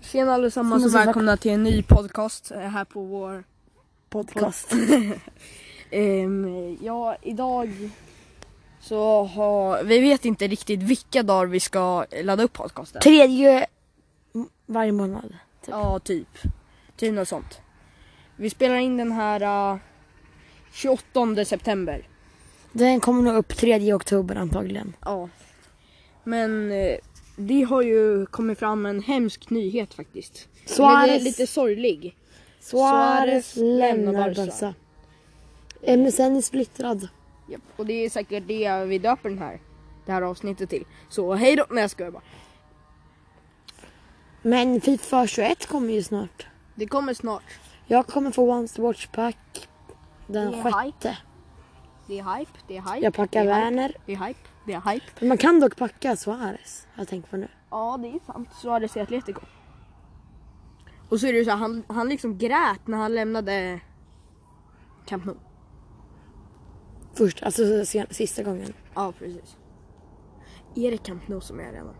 Tjena allesammans Tjena, och tjena. välkomna till en ny podcast eh, här på vår Podcast. Ehm, ja, idag så har... Vi vet inte riktigt vilka dagar vi ska ladda upp podcasten. Tredje m- varje månad. typ. Ja, typ. Typ något sånt. Vi spelar in den här eh, 28 september. Den kommer nog upp tredje oktober antagligen. Ja. Men eh, det har ju kommit fram en hemsk nyhet faktiskt. Lite, Suarez- lite sorglig. Suarez lämnar lämnar Barca. Barca. MSN är splittrad. Japp, och det är säkert det vi döper den här, det här avsnittet till. Så hej då! Nej jag skojar bara. Men Fifa 21 kommer ju snart. Det kommer snart. Jag kommer få Once Watch Pack den Det är sjätte. Det är hype, det är hype. Jag packar det är hype, Werner. Det är hype, det är hype. Men man kan dock packa Suarez. har Jag tänkt på nu. Ja det är sant. Så hade det Atletico. Och så är det ju så här, han, han liksom grät när han lämnade Camp Nou. Först, alltså sen, sista gången. Ja precis. Är det Camp Nou som är arenan?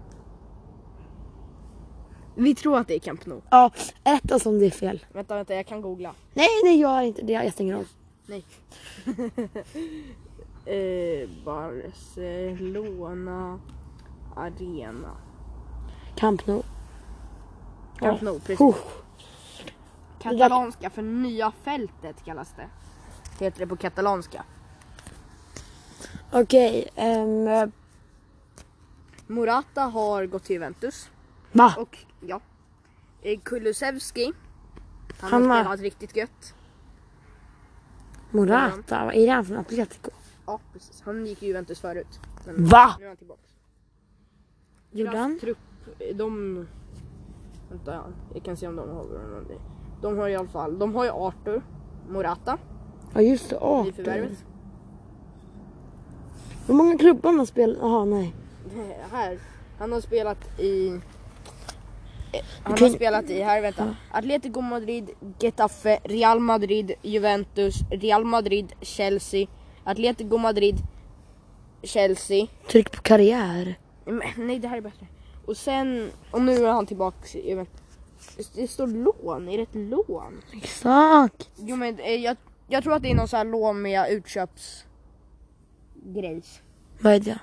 Vi tror att det är Camp Nou. Ja, rätta som det är fel. Vänta, vänta jag kan googla. Nej, nej jag har inte det. Jag stänger av. Nej. eh, Barcelona Arena. Camp Nou. Camp Ja. Nou, precis. Huh. Katalanska för nya fältet kallas det. Heter det på katalanska. Okej. ehm, Morata har gått till Juventus. va? Och ja. Eh, Kulusevski. Han, Han har har- spelat riktigt gött. Morata? Vad är det han från Atletico? Ja, precis. Han gick i Juventus förut. Men Va? Nu är han tillbaka. Gjorde Deras han? trupp, de... Vänta, jag kan se om de håller honom. De har i alla fall, de har ju Arthur Morata Ja just det, i 18. förvärvet. Hur många klubbar man spelar? Jaha nej. Det Här, han har spelat i... eh, Han har kan- spelat i, här vänta. Atletico Madrid, Getafe, Real Madrid, Juventus, Real Madrid, Chelsea, Atletico Madrid, Chelsea. Tryck på karriär. Men, Nej, det här är bättre. Och sen, och nu är han tillbaks i Juventus. Det står lån, är det ett lån? Exakt. Jo men eh, jag, jag tror att det är någon sån här lån med utköpsgrejs. Vad är det?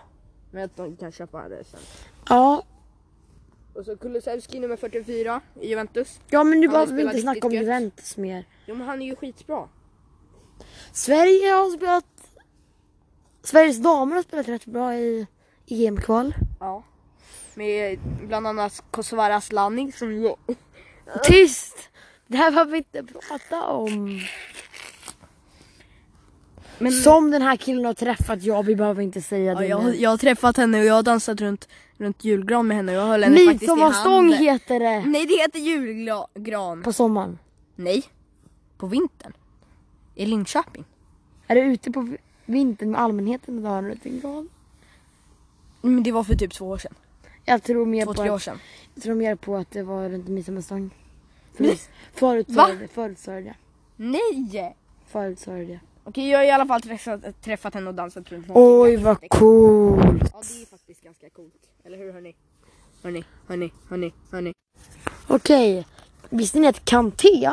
Men att de kan köpa det sen. Ja, Och så Kulusevski nummer 44 i Juventus. ja men nu Han har behöver vi spelat inte snacka om riktigt gött. Juventus mer. Jo men han är ju skitbra. Sverige har spelat... Sveriges damer har spelat rätt bra i EM-kval. Ja. Med bland annat Kosovar Asllani som ju... Tyst! Det här behöver vi inte prata om. Men- Som den här killen har träffat, ja vi behöver inte säga det nu. har träffat henne och jag har dansat runt, runt julgran med henne och jag höll Midsommarstång heter det. Nej det heter julgran. På sommaren. Nej. På vintern. I Linköping. Är du ute på vintern med allmänheten och då har du en gran? Men det var för typ två år sedan. Jag tror mer, Två, på tre år att, sedan. jag tror mer på att det var runt midsommarstång. För- Nej. Förut Va? sa jag det, förut sa jag det. Nej! Förut sa jag det. Okej, jag har i alla fall träffat, träffat henne och dansat runt Oj vad coolt! Ja, det är faktiskt ganska coolt. Eller hur hörni? Hörni, hörni, hörni, hörni. Okej, visste ni att Kanté,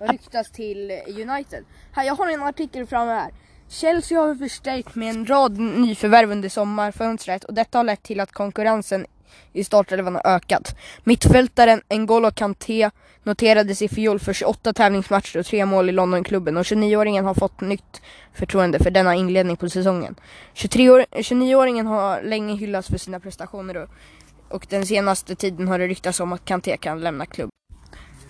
Jag ryktas till United. Här, jag har en artikel framme här. Chelsea har förstärkt med en rad nyförvärv under sommarfönstret och detta har lett till att konkurrensen i startelvan har ökat. Mittfältaren N'Golo Kanté noterades i fjol för 28 tävlingsmatcher och tre mål i Londonklubben och 29-åringen har fått nytt förtroende för denna inledning på säsongen. 23-år 29-åringen har länge hyllats för sina prestationer och, och den senaste tiden har det ryktats om att Kanté kan lämna klubben.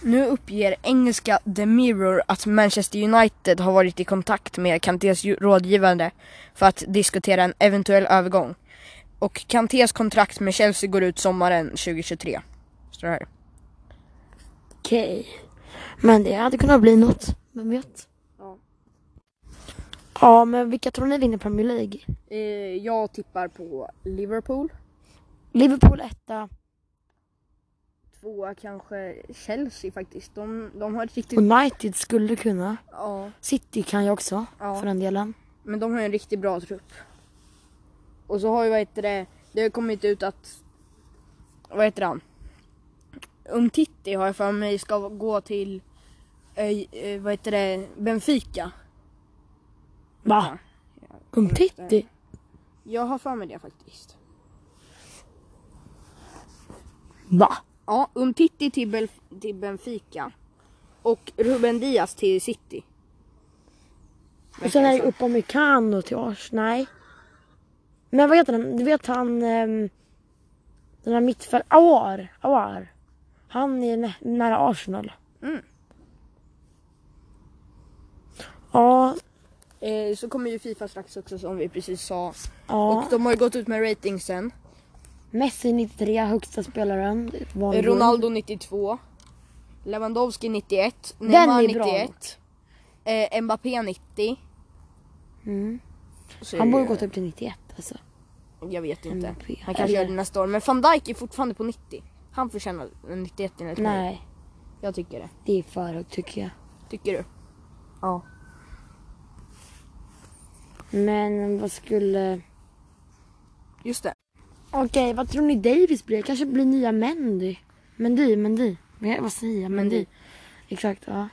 Nu uppger engelska The Mirror att Manchester United har varit i kontakt med Kantés ju- rådgivare för att diskutera en eventuell övergång. Och Kantés kontrakt med Chelsea går ut sommaren 2023. Står det här. okej. Men det hade kunnat bli något, vem vet? Ja. Ja men vilka tror ni vinner Premier League? Eh, jag tippar på Liverpool. Liverpool etta Tvåa kanske Chelsea faktiskt. De, de har ett riktigt... United skulle kunna. Ja. City kan jag också, Ja. för den delen. Men de har ju en riktigt bra trupp. Och så har ju vad heter det, det har kommit ut att, vad heter han? Umtiti har jag för mig ska gå till eh, eh, vad heter det, Benfica. Va? Umtitti? Jag har för mig det faktiskt. Va? Ja, Umtiti till, Bel- till Benfica. Och Ruben Diaz till City. Och sen är det Upamecano till Ars. Nej. Men vad heter han? Du vet han... ehm, den här mittfält... Awar. Awar. Han är nä- nära Arsenal. Mm. Ja. Eh, så kommer ju Fifa strax också som vi precis sa. Ja. Och de har ju gått ut med ratingsen. Messi 93, högsta spelaren. Vanlig. Ronaldo 92. Lewandowski 91. Neymar är bra. 91. Eh, Mbappé 90. Mm. Så Han är borde det- gått upp till 91 alltså. Jag vet inte. Mbappé. Han kanske gör det nästa år. Men van Dijk är fortfarande på 90. Han förtjänar 91 enligt mig. Nej, Jag tycker det. det är för högt tycker jag. Tycker du? Ja. Men vad skulle... Just det. Okej, vad tror ni Davis blir? Kanske blir nya Mendy? Mendy, Mendy. Vad- Vad säger jag? Mendy. Mendy. Exakt, ja.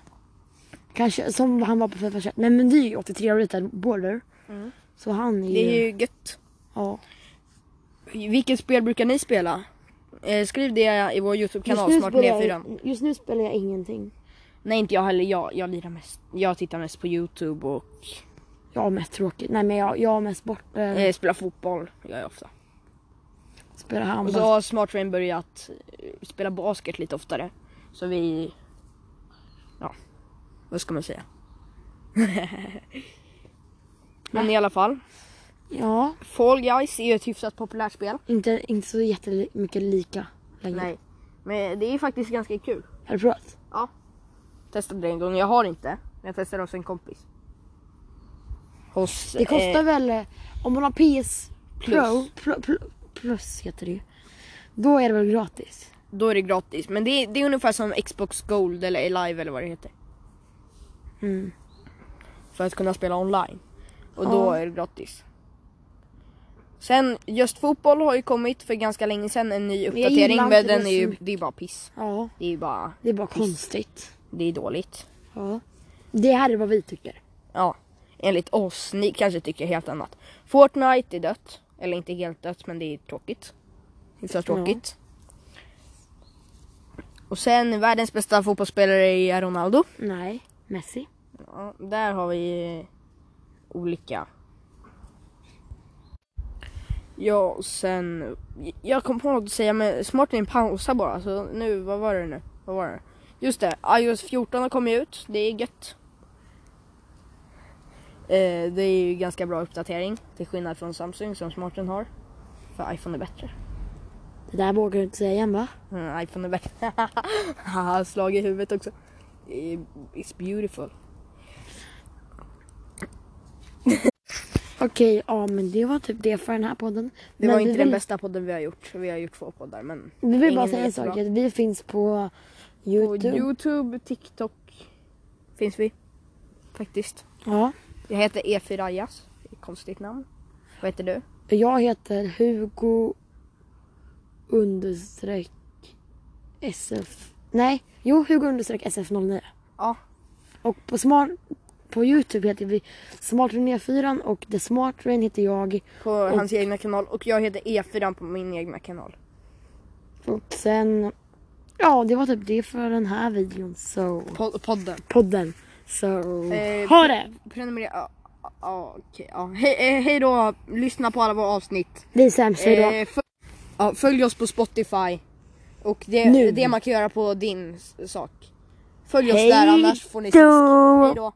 Kanske som han var på Fifa 21. Men Mendy är ju 83 och ritad border. Mm. Så han är ju... Det är ju gött. Ja. Vilket spel brukar ni spela? Eh, skriv det i vår Youtube-kanal snart spelar med jag, just nu spelar jag ingenting. Nej inte jag heller, jag, jag lirar mest. Jag tittar mest på Youtube och Jag har mest tråkigt. Nej men jag, jag har mest bort... Eh, eh, spelar fotboll. Gör jag ofta. spelar Och handboll. så har Smart Train börjat eh, spela basket lite oftare. Så vi... Ja, vad ska man säga? Men i alla fall. Ja, Fall Guys är ju ett hyfsat populärt spel. inte, inte så jättemycket lika längre. Nej. Men det är faktiskt ganska kul. Har du provat? Ja. Testade det en gång. Jag har inte. Men jag testade hos en kompis. Hos... Det kostar väl, eh, om man har PS Pro, Plus. plus. plus heter det ju. Då är det väl gratis? då är det gratis. Men det är, det är ungefär som Xbox Gold eller Live eller vad det heter. Mm. För att kunna spela online. Och då Ja. är det gratis. Sen just fotboll har ju kommit för ganska länge sedan en ny jag uppdatering gillar men, inte den det är så ju, mycket. det är bara piss. Ja, Det är ju bara, det är bara konstigt. det är dåligt. Ja. Det här är vad vi tycker. Ja, enligt oss. Ni kanske tycker helt annat. Fortnite är dött. Eller inte helt dött, men det är tråkigt. Hyfsat Ja. tråkigt. Och sen världens bästa fotbollsspelare är Ronaldo. Nej, Messi. Ja, där har vi eh, olika. Ja, och sen... Jag kom på något att säga, men smarten pausa bara. Så nu, vad var det nu? Vad var det? Just det, iOS 14 har kommit ut. Det är gött. Eh, det är ju ganska bra uppdatering. Till skillnad från Samsung som smarten har. För iPhone är bättre. Det där vågar du inte säga igen va? Mm, iPhone är bättre. Haha, Slag i huvudet också. Eh, It's beautiful. Okej, ja men det var typ det för den här podden. Det men var vi inte den vill- bästa podden vi har gjort. Vi har gjort två poddar men... Vi vill bara ingen säga är en sak, jättebra. att vi finns på På Youtube. Youtube, TikTok finns vi. Faktiskt. Ja. Jag heter E E4 Ajas. Konstigt namn. Vad heter du? Jag heter Hugo understreck SF. Nej, jo Hugo understreck SF09. Ja. Och på smart på Youtube heter vi Smartrain 4 och The Smart Rain heter jag. På hans egna kanal. Och jag heter E4 på min egna kanal. Och sen, ja det var typ det för den här videon så. Po- podden. Podden. Så, Eh, ha det! Prenumerera. Ja, ja, okej. Ja. Hej, eh, hej då. Lyssna på alla våra avsnitt. Vi är sämst, hejdå. Eh, följ, ja, följ oss på Spotify. Och det, Nu. det man kan göra på din s- sak. Följ oss Hej där annars får ni då. Hej då.